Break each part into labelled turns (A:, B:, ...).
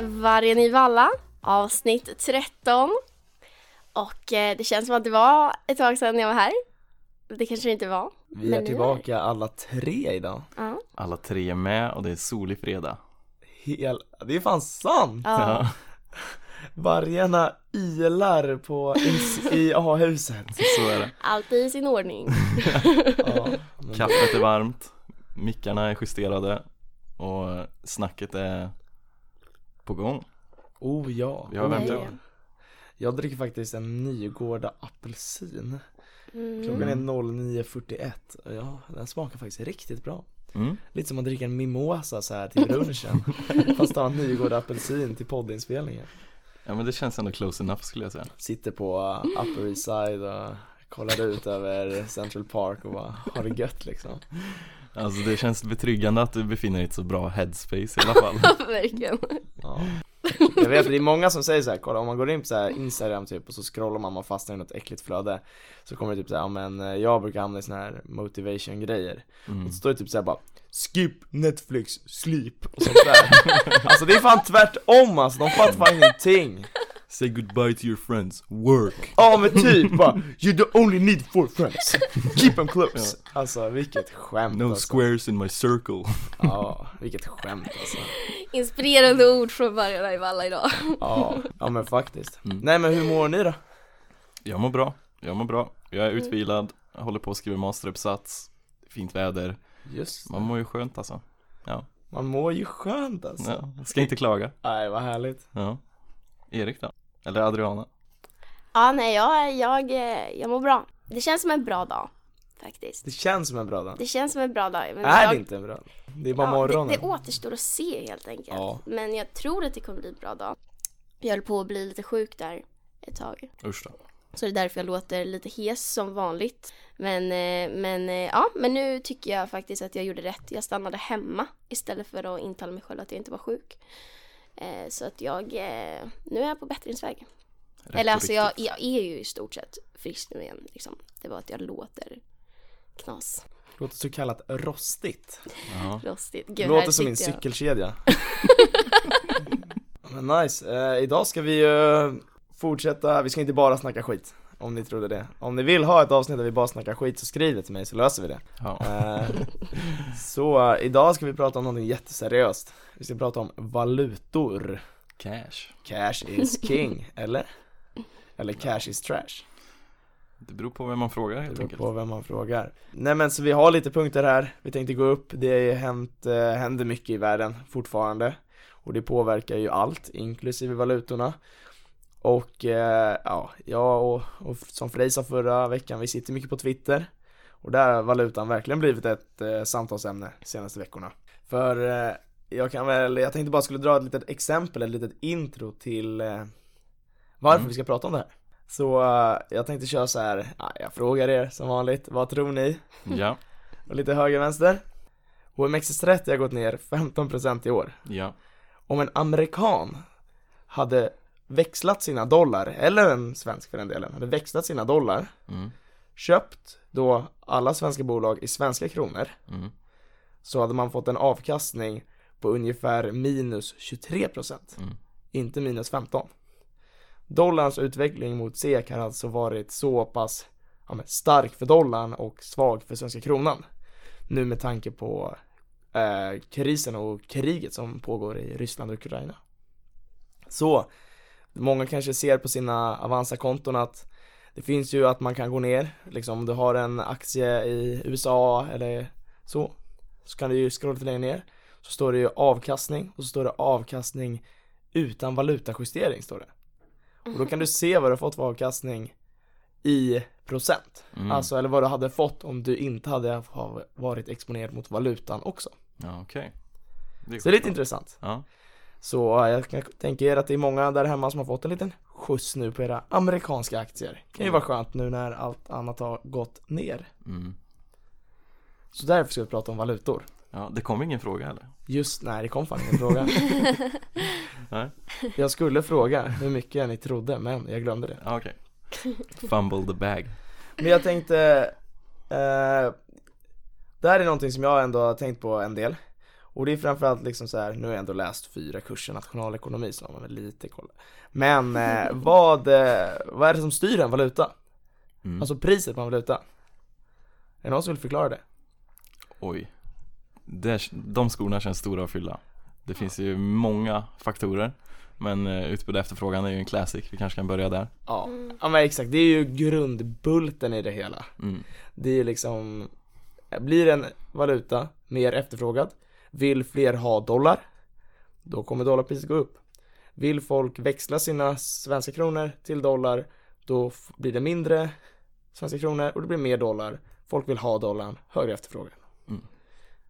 A: Vargen i Valla, avsnitt 13. Och eh, det känns som att det var ett tag sedan jag var här. Det kanske det inte var.
B: Vi
A: Men
B: är
A: nu-
B: tillbaka alla tre idag.
A: Ja.
C: Alla tre är med och det är solig fredag.
B: Hel... Det är fan sant!
A: ja.
B: Vargarna ilar på i- i A-huset.
C: Så är det.
A: Allt är i sin ordning.
B: Ja, men-
C: Kaffet är varmt, mickarna är justerade och snacket är på gång.
B: oh ja.
C: Vi har
B: oh,
C: värmt
B: ja.
C: upp.
B: Jag dricker faktiskt en Nygårda apelsin.
A: Mm.
B: Klockan är 09.41 och ja, den smakar faktiskt riktigt bra.
C: Mm.
B: Lite som att dricka en mimosa så här till brunchen. Fast ta en Nygårda apelsin till poddinspelningen.
C: Ja men det känns ändå close enough skulle jag säga.
B: Sitter på uh, Upper East Side och kollar ut över Central Park och bara har det gött liksom.
C: Alltså det känns betryggande att du befinner dig i ett så bra headspace i alla fall.
A: Verkligen.
B: Ja. Jag vet, det är många som säger så här, kolla om man går in på så här Instagram typ och så scrollar man, man fastnar i något äckligt flöde Så kommer det typ så här, ja men eh, jag brukar hamna i såna här motivation grejer
C: Mm.
B: Och så står det typ så här bara Skip Netflix, sleep och sånt där Alltså det är fan tvärtom alltså, de fattar fan ingenting
C: Say goodbye to your friends, work!
B: Ja men typ bara, you the only need four friends, keep them close Alltså vilket skämt
C: No
B: alltså.
C: squares in my circle.
B: Ja, vilket skämt alltså
A: Inspirerande ord från Vargarna i Valla idag.
B: Ja, ja men faktiskt
C: Mm.
B: Nej men hur mår ni då?
C: Jag mår bra, jag mår bra. Jag är utvilad, jag håller på att skriva masteruppsats. Fint väder.
B: Just
C: Man mår ju skönt alltså.
B: Man mår ju skönt alltså.
C: Ja, ska inte klaga.
B: Nej, vad härligt.
C: Ja. Erik då? Eller Adriana?
A: Ja, nej, jag, jag, eh, jag mår bra. Det känns som en bra dag, faktiskt.
B: Det känns som en bra dag.
A: Det känns som en bra dag. Men
B: Är
A: jag,
B: det inte en bra dag? Det är bara
A: ja,
B: morgonen.
A: Det, det återstår att se helt enkelt.
B: Ja.
A: Men jag tror att det kommer bli en bra dag. Jag höll på att bli lite sjuk där ett tag.
C: Usch då.
A: Så det är därför jag låter lite hes som vanligt. Men, eh, men, eh, ja, men nu tycker jag faktiskt att jag gjorde rätt. Jag stannade hemma istället för att intala mig själv att jag inte var sjuk. Eh, Så att jag, eh, nu är jag på bättringsväg.
C: Rätt
A: Eller
C: och
A: alltså jag,
C: riktigt.
A: jag är ju i stort sett frisk nu igen. Liksom. Det var att jag låter knas,
B: Låter så kallat rostigt.
C: Ja.
A: rostigt. Gud, här
B: Låter som min
A: sitter jag.
B: cykelkedja. Men nice. Eh, idag ska vi ju fortsätta, vi ska inte bara snacka skit. Om ni trodde det. Om ni vill ha ett avsnitt där vi bara snackar skit så skriv det till mig så löser vi det.
C: Ja.
B: Eh, så eh, idag ska vi prata om någonting jätteseriöst. Vi ska prata om valutor.
C: Cash.
B: Cash is king, eller? Eller cash is trash.
C: Det beror på vem man frågar
B: Det
C: helt
B: beror
C: enkelt.
B: på vem man frågar. Nej men så vi har lite punkter här, vi tänkte gå upp, det har ju hänt, eh, händer mycket i världen fortfarande. Och det påverkar ju allt, inklusive valutorna. Och eh, ja, jag och, och som Frej sa förra veckan, vi sitter mycket på Twitter. Och där har valutan verkligen blivit ett eh, samtalsämne de senaste veckorna. För eh, jag kan väl, jag tänkte bara skulle dra ett litet exempel, ett litet intro till eh, varför
C: Mm.
B: vi ska prata om det här. Så eh, jag tänkte köra så här, ja, jag frågar er som vanligt, vad tror ni?
C: Ja,
B: Och lite höger vänster. OMXS30 har gått ner 15% i år.
C: ja.
B: Om en amerikan hade växlat sina dollar, eller en svensk för den delen, hade växlat sina dollar,
C: Mm,
B: köpt då alla svenska bolag i svenska kronor,
C: mm.
B: så hade man fått en avkastning på ungefär minus 23%.
C: Mm.
B: Inte minus 15. Dollarns utveckling mot SEK har alltså varit så pass ja, men stark för dollarn och svag för svenska kronan. Nu med tanke på eh, krisen och kriget som pågår i Ryssland och Ukraina. Så, många kanske ser på sina Avanza-konton att det finns ju att man kan gå ner, liksom om du har en aktie i USA eller så, så kan du ju scrolla lite längre ner så står det ju avkastning och så står det avkastning utan valutajustering står det. Och då kan du se vad du har fått för avkastning i procent.
C: Mm.
B: Alltså eller vad du hade fått om du inte hade ha- varit exponerad mot valutan också.
C: Ja, okej. är
B: Så det är lite intressant.
C: Ja,
B: Så eh, jag kan tänka er att det är många där hemma som har fått en liten skjuts nu på era amerikanska aktier. Kan ju vara skönt nu när allt annat har gått ner.
C: mm.
B: Så därför ska vi prata om valutor.
C: ja, det kom ingen fråga eller?
B: Just när det kom fan ingen fråga.
C: Nej,
B: Jag skulle fråga hur mycket ni trodde, men jag glömde det.
C: ja, okej. Fumble the bag.
B: Men jag tänkte, eh, det här är någonting som jag ändå har tänkt på en del. Och det är framförallt liksom så här, nu har jag ändå läst fyra kurser nationalekonomi så har man väl lite koll. Men eh, vad, eh, vad är det som styr en valuta?
C: Mm.
B: Alltså priset på en valuta. Är det någon som vill förklara det?
C: Oj. Det, de skorna känns stora att fylla. Det finns ju många faktorer. Men eh, utbud och efterfrågan är ju en classic. Vi kanske kan börja där.
B: Ja,
A: Mm.
B: ja men exakt. Det är ju grundbulten i det hela.
C: Mm.
B: Det är ju liksom, blir en valuta mer efterfrågad, vill fler ha dollar, då kommer dollarpriset gå upp. Vill folk växla sina svenska kronor till dollar, då f- blir det mindre svenska kronor och det blir mer dollar. Folk vill ha dollarn, högre efterfrågan.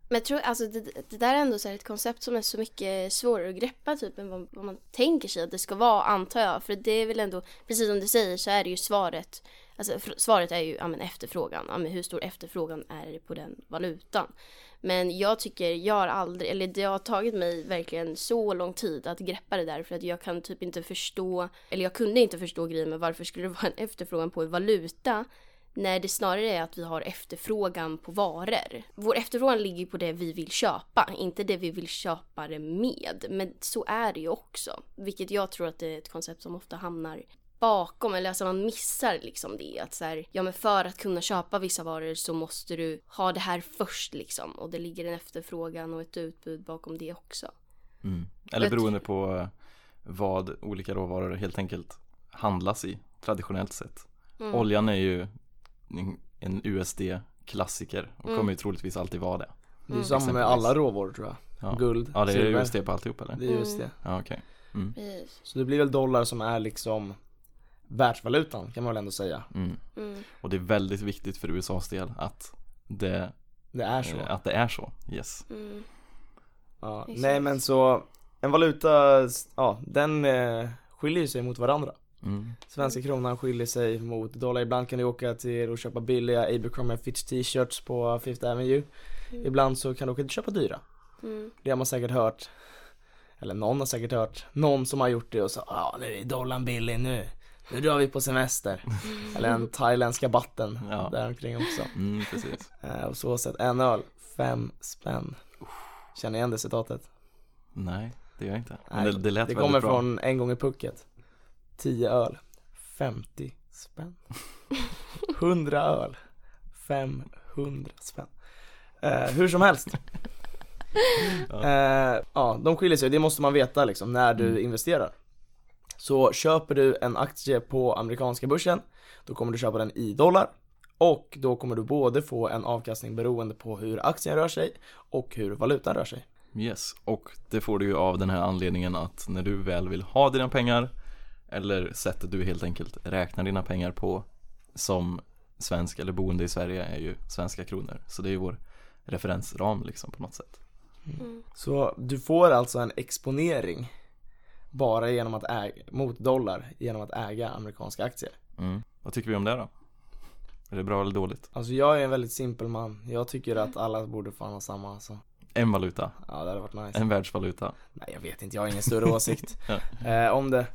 A: Men jag tror, alltså det, det där är ändå så här ett koncept som är så mycket svårare att greppa typ än vad, vad man tänker sig att det ska vara antar jag. För det är väl ändå, precis som du säger så är det ju svaret. Alltså fr- svaret är ju ja, men efterfrågan. Ja, men hur stor efterfrågan är det på den valutan? Men jag tycker, jag har aldrig, eller det har tagit mig verkligen så lång tid att greppa det där för att jag kan typ inte förstå, eller jag kunde inte förstå grejen med varför skulle det vara en efterfrågan på en valuta när det snarare är att vi har efterfrågan på varor. Vår efterfrågan ligger ju på det vi vill köpa, inte det vi vill köpa det med. Men så är det ju också. Vilket jag tror att det är ett koncept som ofta hamnar bakom, eller alltså man missar liksom det. Att så här, ja men för att kunna köpa vissa varor så måste du ha det här först liksom. Och det ligger en efterfrågan och ett utbud bakom det också.
B: Mm.
C: Eller
A: Jag tror-
C: beroende på eh, vad olika råvaror helt enkelt handlas i traditionellt sett.
A: Mm.
C: Oljan är ju en- en USD-klassiker och
A: Mm.
C: kommer ju troligtvis alltid vara det.
B: Det är ju
A: Mm.
B: samma med alla råvaror tror jag.
C: Ja,
B: Guld,
C: ja det är
B: silver.
C: USD på alltihop eller?
B: Det är just det.
A: Mm.
C: Ja okej. Mm.
A: Precis.
B: Så det blir väl dollar som är liksom världsvalutan kan man väl ändå säga.
C: Mm.
A: Mm.
C: Och det är väldigt viktigt för USAs del att det,
B: Det är så.
C: eh, att det är så. Yes.
A: Mm.
B: Ja,
A: Exakt.
B: nej men så en valuta, s- ja den eh, skiljer ju sig mot varandra.
C: Mm.
B: Svenska kronan skiljer sig mot dollar. Ibland kan du åka till och köpa billiga Abercrombie Fitch t-shirts på Fifth Avenue.
A: Mm.
B: Ibland så kan du åka till och köpa dyra.
A: Mm.
B: Det har man säkert hört. Eller någon har säkert hört. Någon som har gjort det och sa ja nu är dollarn billig nu. Nu drar vi på semester.
A: Mm.
B: Eller den thailändska batten
C: Ja.
B: däromkring också.
C: Mm, precis.
B: Eh, och så sett en öl, fem spänn. Känner igen det citatet?
C: Nej, det gör jag inte. Men
B: Nej,
C: det, det lät
B: Det
C: väldigt
B: kommer
C: bra.
B: från en gång i pucket 10 öl 50 spänn 100 öl 500 spänn eh, Hur som helst
C: Ja. Mm.
B: eh, Ja, de skiljer sig, det måste man veta liksom när du investerar Så köper du en aktie på amerikanska börsen Då kommer du köpa den i dollar och då kommer du både få en avkastning beroende på hur aktien rör sig och hur valutan rör sig.
C: Yes, och det får du ju av den här anledningen att när du väl vill ha dina pengar eller sättet du helt enkelt räknar dina pengar på som svensk eller boende i Sverige är ju svenska kronor. Så det är ju vår referensram liksom på något sätt.
B: Så du får alltså en exponering bara genom att äga, mot dollar genom att äga amerikanska aktier.
C: Mm. Vad tycker vi om det då? Är det bra eller dåligt?
B: Alltså jag är en väldigt simpel man. Jag tycker att alla borde fan ha samma alltså.
C: En valuta,
B: Ja det hade varit nice.
C: en världsvaluta.
B: Nej jag vet inte, jag har ingen större åsikt
C: Ja.
B: eh, om det.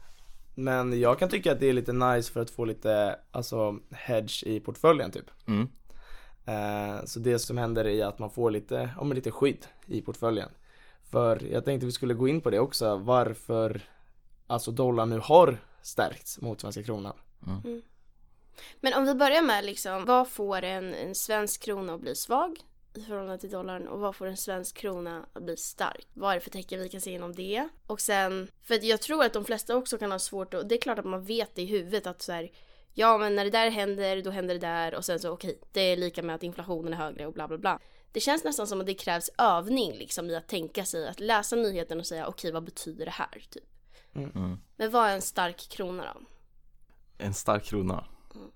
B: Men jag kan tycka att det är lite nice för att få lite, alltså hedge i portföljen typ.
C: Mm.
B: Eh, Så det som händer är att man får lite, ja, men lite skydd i portföljen. För jag tänkte vi skulle gå in på det också, varför alltså dollarn nu har stärkts mot svenska kronan.
A: Men om vi börjar med liksom, vad får en, en svensk krona att bli svag i förhållande till dollarn och vad får en svensk krona att bli stark? Vad är det för tecken vi kan se inom det? Och sen, för att jag tror att de flesta också kan ha svårt att, det är klart att man vet det i huvudet att så här, ja men när det där händer då händer det där och sen så okej, det är lika med att inflationen är högre och bla bla bla. Det känns nästan som att det krävs övning liksom i att tänka sig att läsa nyheten och säga okej vad betyder det här typ.
C: Mm.
A: Men vad är en stark krona då?
C: En stark krona.
A: Mm.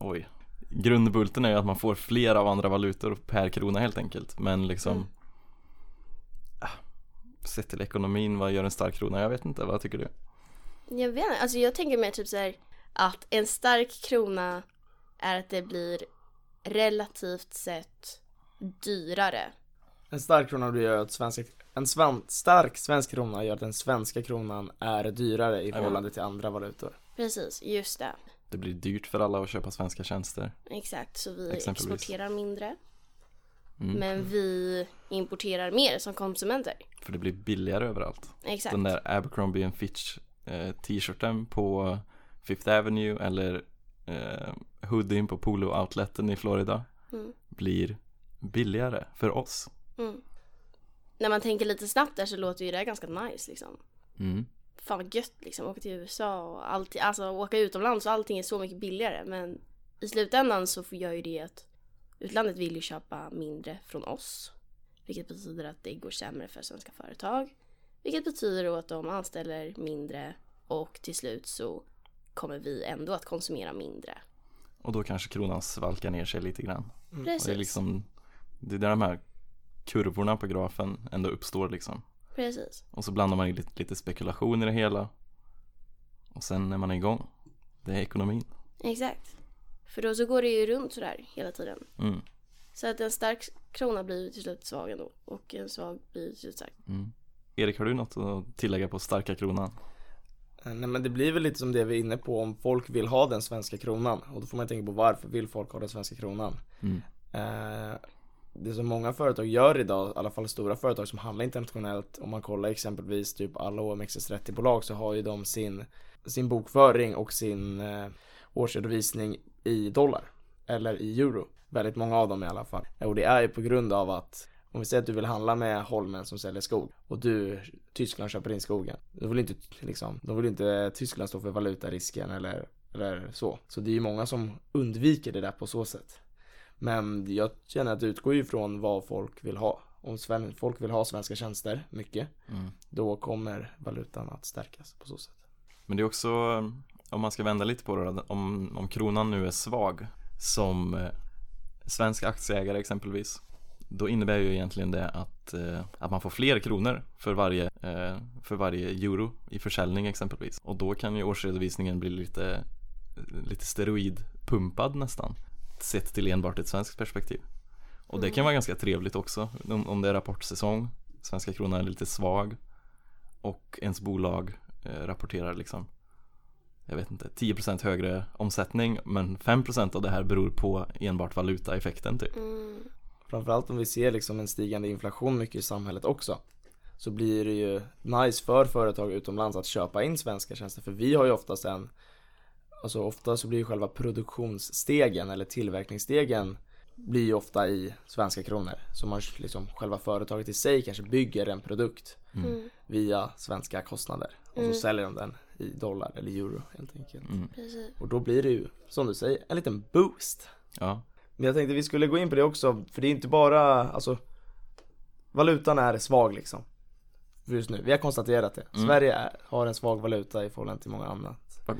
C: Oj. Grundbulten är ju att man får fler av andra valutor per krona helt enkelt. Men liksom
A: Mm.
C: Ah, Sett till ekonomin, vad gör en stark krona? Jag vet inte, vad tycker du?
A: Jag vet inte, alltså jag tänker mer typ så här att en stark krona är att det blir relativt sett dyrare.
B: En stark krona gör att svenska, en sven, stark svensk krona gör att den svenska kronan är dyrare i förhållande till andra valutor.
A: Precis, just det.
C: Det blir dyrt för alla att köpa svenska tjänster.
A: Exakt, så vi
C: Exempelvis.
A: exporterar mindre.
C: Mm.
A: Men vi importerar mer som konsumenter.
C: För det blir billigare överallt.
A: Exakt.
C: Den där Abercrombie and Fitch eh, t-shirten på Fifth Avenue eller eh, hoodien på Polo Outleten i Florida
A: Mm.
C: blir billigare för oss.
A: Mm. När man tänker lite snabbt där så låter ju det här ganska nice liksom.
C: Mm.
A: Fan vad gött liksom, åka till USA och allting, alltså åka utomlands och allting är så mycket billigare. Men i slutändan så får- gör ju det att utlandet vill ju köpa mindre från oss. Vilket betyder att det går sämre för svenska företag. Vilket betyder då att de anställer mindre och till slut så kommer vi ändå att konsumera mindre.
C: Mm, Och då kanske kronan svalkar ner sig lite grann. Och
A: Precis.
C: det är liksom Det är där de här kurvorna på grafen ändå uppstår liksom
A: Precis.
C: Och så blandar man in lite, lite spekulation i det hela Och sen när man är igång Det är ekonomin
A: Exakt. För då så går det ju runt sådär hela tiden.
C: mm.
A: Så att en stark krona blir ju till slut svag ändå och en svag blir till slut stark.
C: Mm. Erik, har du något att tillägga på starka kronan?
B: Eh, Nej men det blir väl lite som det vi är inne på om folk vill ha den svenska kronan och då får man tänka på varför vill folk ha den svenska kronan.
C: Mm.
B: Eh, det som många företag gör idag, i alla fall stora företag som handlar internationellt, om man kollar exempelvis typ alla OMXS30-bolag så har ju de sin, sin bokföring och sin eh, årsredovisning i dollar eller i euro. Väldigt många av dem i alla fall. Och det är ju på grund av att om vi säger att du vill handla med Holmen som säljer skog och du, Tyskland köper in skogen. Då vill inte, liksom, då vill inte Tyskland stå för valutarisken eller, eller så. Så det är ju många som undviker det där på så sätt. Men jag känner att det utgår ju från vad folk vill ha. Om sven- folk vill ha svenska tjänster mycket,
C: Mm.
B: då kommer valutan att stärkas på så sätt.
C: Men det är också, om man ska vända lite på det då, om, om kronan nu är svag som eh, svensk aktieägare exempelvis då innebär ju egentligen det att, eh, att man får fler kronor för varje, eh, för varje euro i försäljning exempelvis. Och då kan ju årsredovisningen bli lite, lite steroidpumpad nästan. Sett till enbart ett svenskt perspektiv. Och det kan vara ganska trevligt också om, om det är rapportsäsong. Svenska kronan är lite svag. Och ens bolag eh, rapporterar liksom jag vet inte, 10% högre omsättning men 5% av det här beror på enbart valutaeffekten typ.
A: Mm.
B: Framförallt om vi ser liksom en stigande inflation mycket i samhället också. Så blir det ju nice för företag utomlands att köpa in svenska tjänster för vi har ju oftast en Alltså ofta så blir ju själva produktionsstegen eller tillverkningsstegen blir ju ofta i svenska kronor. Så man liksom själva företaget i sig kanske bygger en produkt
A: Mm.
B: via svenska kostnader och så
A: Mm.
B: säljer de den i dollar eller euro helt enkelt.
C: Mm.
A: Precis.
B: Och då blir det ju, som du säger, en liten boost.
C: Ja,
B: Men jag tänkte vi skulle gå in på det också, för det är inte bara, alltså Valutan är svag liksom För Just nu, vi har konstaterat det.
C: Mm.
B: Sverige är, har en svag valuta i förhållande till många andra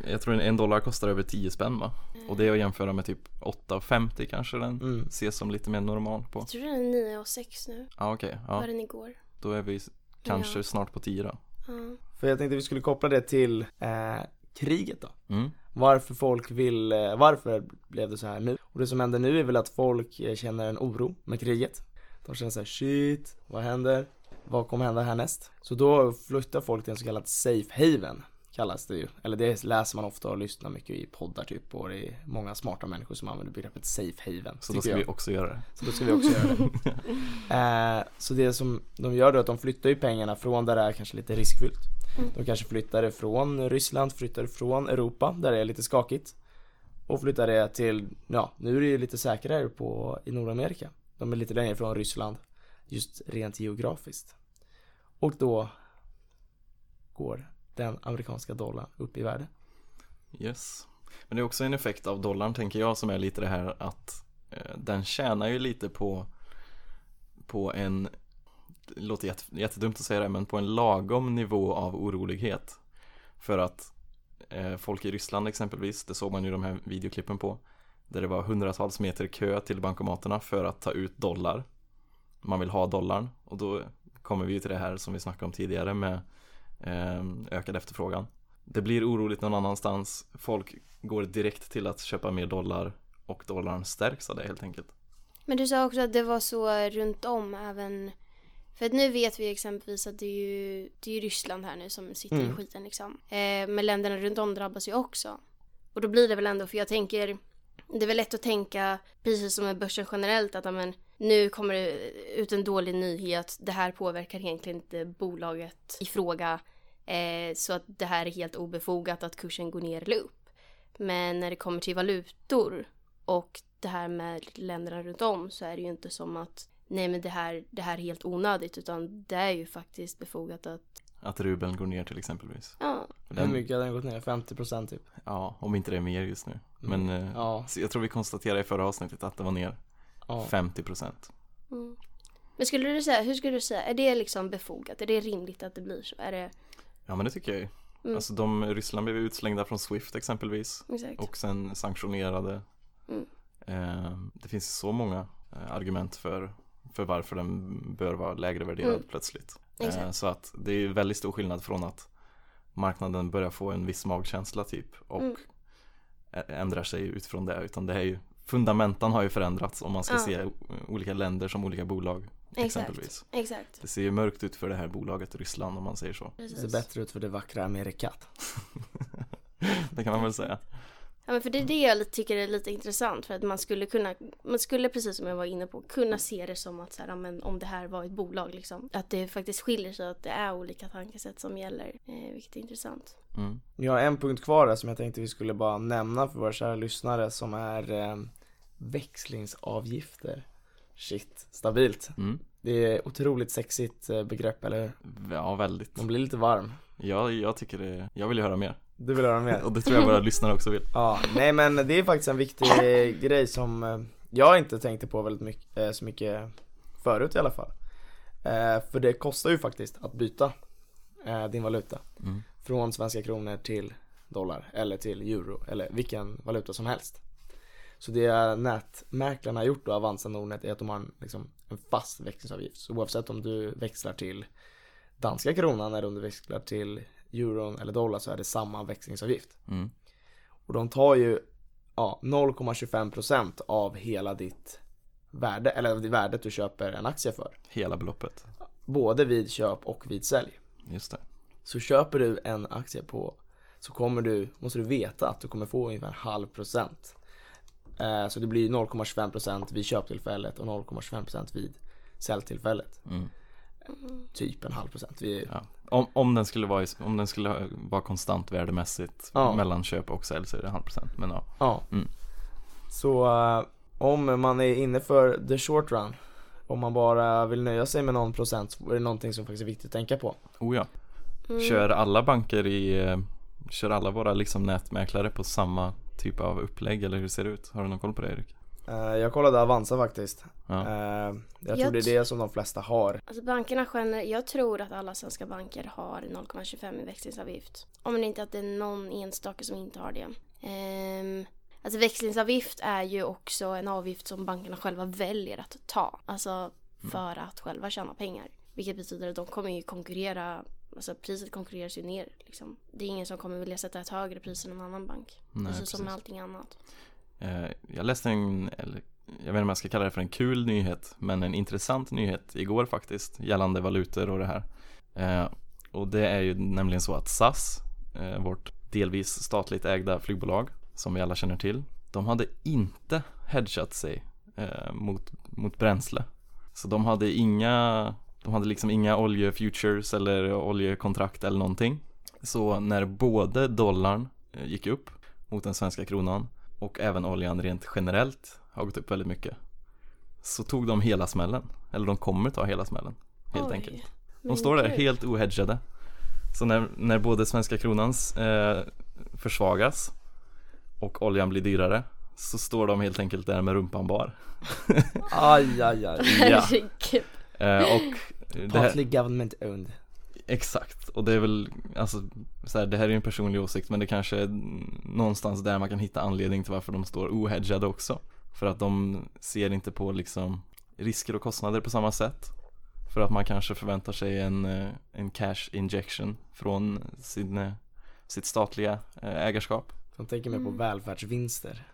C: jag tror en- en dollar kostar över 10 spänn va? Och det är att jämföra med typ 8,50 kanske den
B: mm.
C: ses som lite mer normal på.
A: Jag tror den är 9 och 6 nu.
C: Ja okej,
A: Var
C: ja.
A: den igår?
C: då är vi s- kanske
A: Ja.
C: snart på 10 då.
A: Ja.
B: För jag tänkte vi skulle koppla det till eh, kriget då
C: Mm.
B: Varför folk vill, eh, varför blev det så här nu? Och det som händer nu är väl att folk eh, känner en oro med kriget. De känner så här shit, vad händer? Vad kommer hända härnäst? Så då flyttar folk till en så kallad safe haven, kallas det ju. Eller det läser man ofta och lyssnar mycket i poddar typ och det är många smarta människor som använder begreppet safe haven.
C: Så
B: tycker
C: då ska
B: jag.
C: vi också göra det.
B: Så då ska vi också göra det. Eh, så det som de gör då är att de flyttar ju pengarna från där det är kanske lite riskfyllt.
A: Mm.
B: De kanske flyttar det från Ryssland, flyttar det från Europa där det är lite skakigt. Och flyttar det till, ja nu är det ju lite säkrare på, i Nordamerika. De är lite längre ifrån Ryssland just rent geografiskt. Och då går den amerikanska dollarn upp i värde.
C: Yes. Men det är också en effekt av dollarn tänker jag som är lite det här att eh, den tjänar ju lite på på en, det låter jätte, jättedumt att säga det, men på en lagom nivå av orolighet. För att eh, folk i Ryssland exempelvis, det såg man ju de här videoklippen på, där det var hundratals meter kö till bankomaterna för att ta ut dollar. Man vill ha dollarn och då kommer vi ju till det här som vi snackade om tidigare med eh, ökad efterfrågan. Det blir oroligt någon annanstans. Folk går direkt till att köpa mer dollar och dollarn stärks av det helt enkelt.
A: Men du sa också att det var så runt om även. För att nu vet vi exempelvis att det är ju, det är ju Ryssland här nu som sitter i
B: Mm.
A: skiten liksom. Eh, men länderna runt om drabbas ju också. Och då blir det väl ändå, för jag tänker, det är väl lätt att tänka precis som med börsen generellt att ja, men, nu kommer det ut en dålig nyhet. Det här påverkar egentligen inte bolaget i fråga. Eh, så att det här är helt obefogat att kursen går ner eller upp. Men när det kommer till valutor och det här med länderna runt om så är det ju inte som att nej men det här, det här är helt onödigt utan det är ju faktiskt befogat att
C: Att rubeln går ner till exempelvis.
A: ja,
B: Hur mycket har den gått ner? 50% typ?
C: Ja, om inte det är mer just nu. Men eh,
B: Mm. Ja.
C: så jag tror vi konstaterade i förra avsnittet att det var ner
B: ja.
C: 50%.
A: Mm. Men skulle du säga, hur skulle du säga, är det liksom befogat? Är det rimligt att det blir så? Är det,
C: Ja men det tycker jag ju.
A: Mm.
C: Alltså de, Ryssland blev utslängda från Swift exempelvis.
A: exakt.
C: Och sen sanktionerade.
A: Mm.
C: Eh, det finns så många eh, argument för, för varför den bör vara lägre värderad
A: Mm.
C: plötsligt.
A: Exakt.
C: Eh, så att det är ju väldigt stor skillnad från att marknaden börjar få en viss magkänsla typ och
A: Mm.
C: ä- ändrar sig utifrån det. Utan det är ju, fundamentan har ju förändrats om man ska
A: Ja.
C: se o- olika länder som olika bolag exempelvis.
A: Exakt. Exakt.
C: Det ser ju mörkt ut för det här bolaget Ryssland om man säger så.
B: Det ser bättre ut för det vackra Amerikat.
C: Det kan man väl säga.
A: Ja, men för det är det jag tycker är lite intressant för att man skulle kunna, man skulle precis som jag var inne på kunna se det som att så här, ja, men om det här var ett bolag liksom. Att det faktiskt skiljer sig att det är olika tankesätt som gäller, eh, vilket är intressant.
C: Mm.
B: Jag har en punkt kvar där som jag tänkte vi skulle bara nämna för våra kära lyssnare som är eh, växlingsavgifter. Shit, stabilt.
C: Mm.
B: Det är otroligt sexigt eh, begrepp, eller hur?
C: Ja, väldigt.
B: Man blir lite varm.
C: Jag, jag tycker det, jag vill ju höra mer.
B: Du vill höra mer?
C: Och det tror jag våra lyssnare också vill.
B: Ja, nej men det är faktiskt en viktig eh, grej som eh, jag inte tänkte på väldigt mycket, eh, så mycket förut i alla fall. Eh, för det kostar ju faktiskt att byta eh, din valuta
C: Mm.
B: från svenska kronor till dollar eller till euro eller vilken valuta som helst. Så det nätmäklarna har gjort då, Avanza Nordnet, är att de har en, liksom, en fast växlingsavgift. Så oavsett om du växlar till danska kronan eller om du växlar till euron eller dollar så är det samma växlingsavgift.
C: Mm.
B: Och de tar ju ja, 0,25% av hela ditt värde, eller av det värdet du köper en aktie för.
C: Hela beloppet.
B: Både vid köp och vid sälj.
C: Just det.
B: Så köper du en aktie på, så kommer du, måste du veta att du kommer få ungefär en halv procent. Eh, så det blir 0,25% vid köptillfället och 0,25% vid säljtillfället.
C: Mm.
B: Typ en halv procent. Vi,
C: Ja. Om, om, den skulle vara, i- om den skulle vara konstant värdemässigt
B: Ja.
C: mellan köp och sälj så är det halv procent. Men ja.
B: Ja.
C: Mm.
B: Så eh, om man är inne för the short run, om man bara vill nöja sig med någon procent, så är det någonting som faktiskt är viktigt att tänka på.
C: Oh ja. Kör alla banker i, eh, kör alla våra liksom nätmäklare på samma typ av upplägg eller hur ser det ut? Har du någon koll på det Erik?
B: Eh, Jag kollade Avanza faktiskt.
C: Ja.
B: Eh, Jag
A: Jag
B: tror det
A: t-
B: är det som de flesta har.
A: Alltså bankerna generellt, jag tror att alla svenska banker har 0,25 i växlingsavgift. Om det inte att det är någon enstaka som inte har det. Ehm, alltså växlingsavgift är ju också en avgift som bankerna själva väljer att ta. Alltså
C: Mm.
A: för att själva tjäna pengar. Vilket betyder att de kommer ju konkurrera, alltså priset konkurreras ju ner liksom. Det är ingen som kommer vilja sätta ett högre pris än en annan bank.
C: Nej,
A: alltså
C: precis.
A: som med allting annat.
C: Eh, Jag läste en, eller jag vet inte om jag ska kalla det för en kul nyhet, men en intressant nyhet igår faktiskt gällande valutor och det här. Eh, Och det är ju nämligen så att SAS, eh, vårt delvis statligt ägda flygbolag som vi alla känner till, de hade inte hedgat sig eh, mot, mot bränsle. Så de hade inga, de hade liksom inga oljefutures eller oljekontrakt eller någonting. Så när både dollarn eh, gick upp mot den svenska kronan och även oljan rent generellt har gått upp väldigt mycket. Så tog de hela smällen, eller de kommer ta hela smällen helt
A: Oj,
C: enkelt.
A: men
C: De står där
A: gud.
C: helt ohedgade. Så när, när både svenska kronans eh, försvagas och oljan blir dyrare så står de helt enkelt där med rumpan bar.
B: Aj, aj, aj.
C: Ja.
A: Herregud.
C: Eh, och det här,
B: Partly government owned.
C: exakt, och det är väl, alltså, så här, det här är ju en personlig åsikt men det kanske är någonstans där man kan hitta anledning till varför de står ohedgade också. För att de ser inte på liksom risker och kostnader på samma sätt. För att man kanske förväntar sig en, eh, en cash injection från sin, eh, sitt statliga eh, ägarskap.
B: De tänker mer på
A: Mm.
B: välfärdsvinster.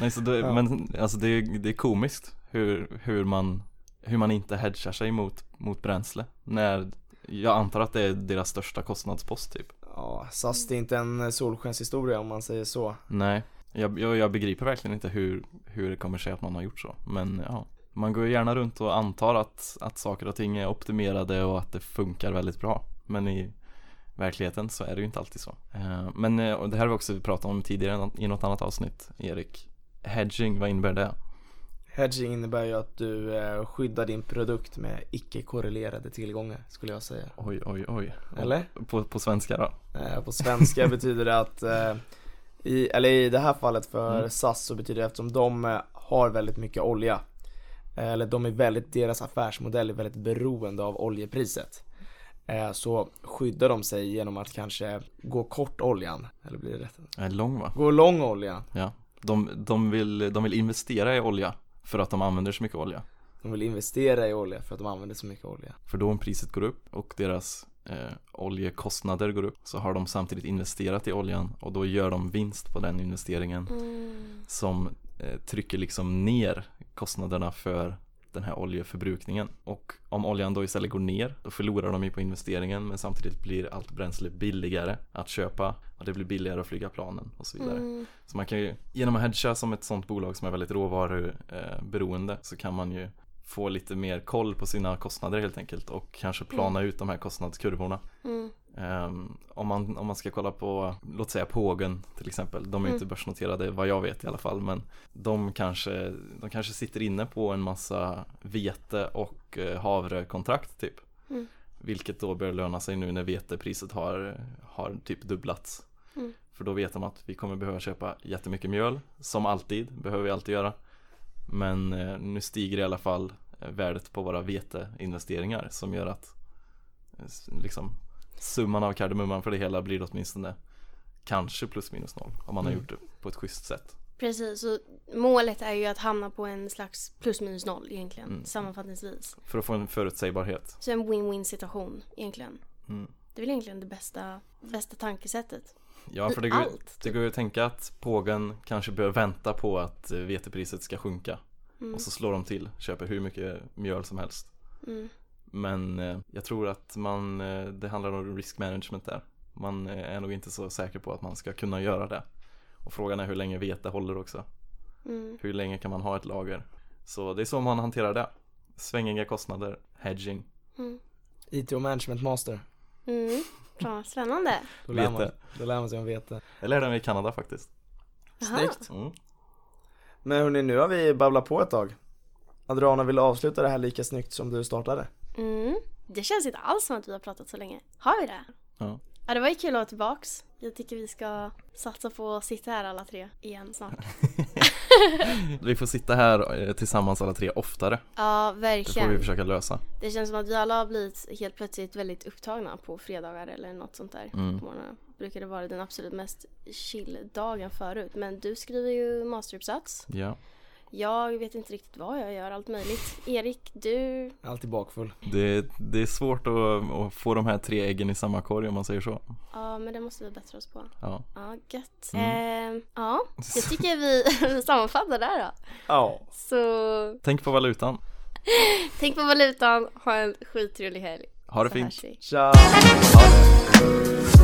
C: Nej, så det,
B: Ja.
C: men alltså det, är- det är komiskt hur, hur, man, hur man inte hedgar sig mot, mot bränsle när jag antar att det är deras största kostnadspost typ.
B: eh, Ja, SAS det är inte en solskenshistoria om man säger så.
C: Nej, Jag, jag, jag begriper verkligen inte hur, hur det kommer sig att man har gjort så. Men ja, man går ju gärna runt och antar att, att saker och ting är optimerade och att det funkar väldigt bra. Men i verkligheten så är det ju inte alltid så. Eh, Men eh, och det här har vi också pratat om tidigare i något- i något annat avsnitt, Erik. Hedging, vad innebär det?
B: Hedging innebär ju att du eh, skyddar din produkt med icke-korrelerade tillgångar skulle jag säga.
C: Oj, oj, oj. Och
B: Eller?
C: På, på svenska då?
B: Eh, På svenska betyder det att, eh, i, eller i det här fallet för
C: Mm.
B: SAS så betyder det eftersom de eh, har väldigt mycket olja, eh, eller de är väldigt, deras affärsmodell är väldigt beroende av oljepriset. eh, Så skyddar de sig genom att kanske gå kort oljan, eller blir det rätt?
C: Eh, Lång va?
B: Gå lång oljan.
C: De, de, vill, de vill investera i olja för att de använder så mycket olja.
B: De vill investera i olja för att de använder så mycket olja.
C: För då om priset går upp och deras eh, oljekostnader går upp så har de samtidigt investerat i oljan och då gör de vinst på den investeringen
A: Mm.
C: som eh, trycker liksom ner kostnaderna för den här oljeförbrukningen. Och om oljan då istället går ner då förlorar de ju på investeringen men samtidigt blir allt bränsle billigare att köpa och det blir billigare att flyga planen och så vidare.
A: Mm.
C: Så man kan ju, genom att hedga som ett sånt bolag som är väldigt råvaruberoende så kan man ju få lite mer koll på sina kostnader helt enkelt och kanske plana ut de här kostnadskurvorna.
A: Mm.
C: Ehm, om, man, om man ska kolla på, låt säga Pågen till exempel, de är ju inte
A: Mm.
C: börsnoterade vad jag vet i alla fall men de kanske, de kanske sitter inne på en massa vete och eh, havrekontrakt typ.
A: Mm.
C: Vilket då bör löna sig nu när vetepriset har, har typ dubblats.
A: Mm.
C: För då vet de att vi kommer behöva köpa jättemycket mjöl, som alltid, behöver vi alltid göra. Men eh, nu stiger i alla fall eh, värdet på våra veteinvesteringar som gör att eh, s- liksom summan av kardemumman för det hela blir åtminstone kanske plus minus noll om man har
B: Mm.
C: gjort det på ett schysst sätt.
A: Precis, och målet är ju att hamna på en slags plus minus noll egentligen,
C: Mm.
A: sammanfattningsvis.
C: För att få en förutsägbarhet.
A: Så en win-win situation egentligen.
C: Mm.
A: Det är väl egentligen det bästa, bästa tankesättet.
C: Ja,
A: I
C: för det går,
A: allt,
C: det går ju att tänka att pågen kanske bör vänta på att eh, vetepriset ska sjunka
A: Mm.
C: och så slår de till, köper hur mycket mjöl som helst.
A: Mm.
C: Men eh, jag tror att man, eh, det handlar om risk management där. Man eh, är nog inte så säker på att man ska kunna göra det. Och frågan är hur länge vete håller också.
A: Mm.
C: Hur länge kan man ha ett lager? Så det är så man hanterar det. Svängiga kostnader, hedging.
A: Mm.
B: IT och management master.
A: Mm. Fan, spännande.
B: Då lär, man,
C: Vete.
B: då lär man sig om vete.
C: Jag lärde mig i Kanada faktiskt.
A: Jaha.
B: Snyggt.
C: Mm.
B: Men hörni, nu har vi babblat på ett tag. Adriana vill du avsluta det här lika snyggt som du startade.
A: Mm. Det känns inte alls som att vi har pratat så länge. Har vi det?
C: Ja.
A: Ja, det var ju kul att vara tillbaks. Jag tycker vi ska satsa på att sitta här alla tre igen snart.
C: Vi får sitta här eh, tillsammans alla tre oftare.
A: Ja,
C: Det får vi
A: verkligen.
C: försöka lösa.
A: Det känns som att vi alla har blivit helt plötsligt väldigt upptagna på fredagar eller något sånt där.
C: Mm.
A: på morgonen. Brukade vara den absolut mest chill-dagen förut. Men du skriver ju masteruppsats.
C: Ja,
A: Jag vet inte riktigt vad jag gör, allt möjligt. Erik, du...
B: Alltid bakfull.
C: det, det är svårt att, att få de här tre äggen i samma korg om man säger så.
A: Ja, men det måste vi bättra oss på.
C: Ja.
A: Ja, gött.
C: Mm.
A: Eh, ja, jag tycker vi sammanfattar där då.
B: Ja.
A: Så
C: Tänk på valutan.
A: tänk på valutan, ha en skittrevlig helg.
C: Ha det
A: Så hörs
C: fint.
A: vi.
B: Tja. Ha det.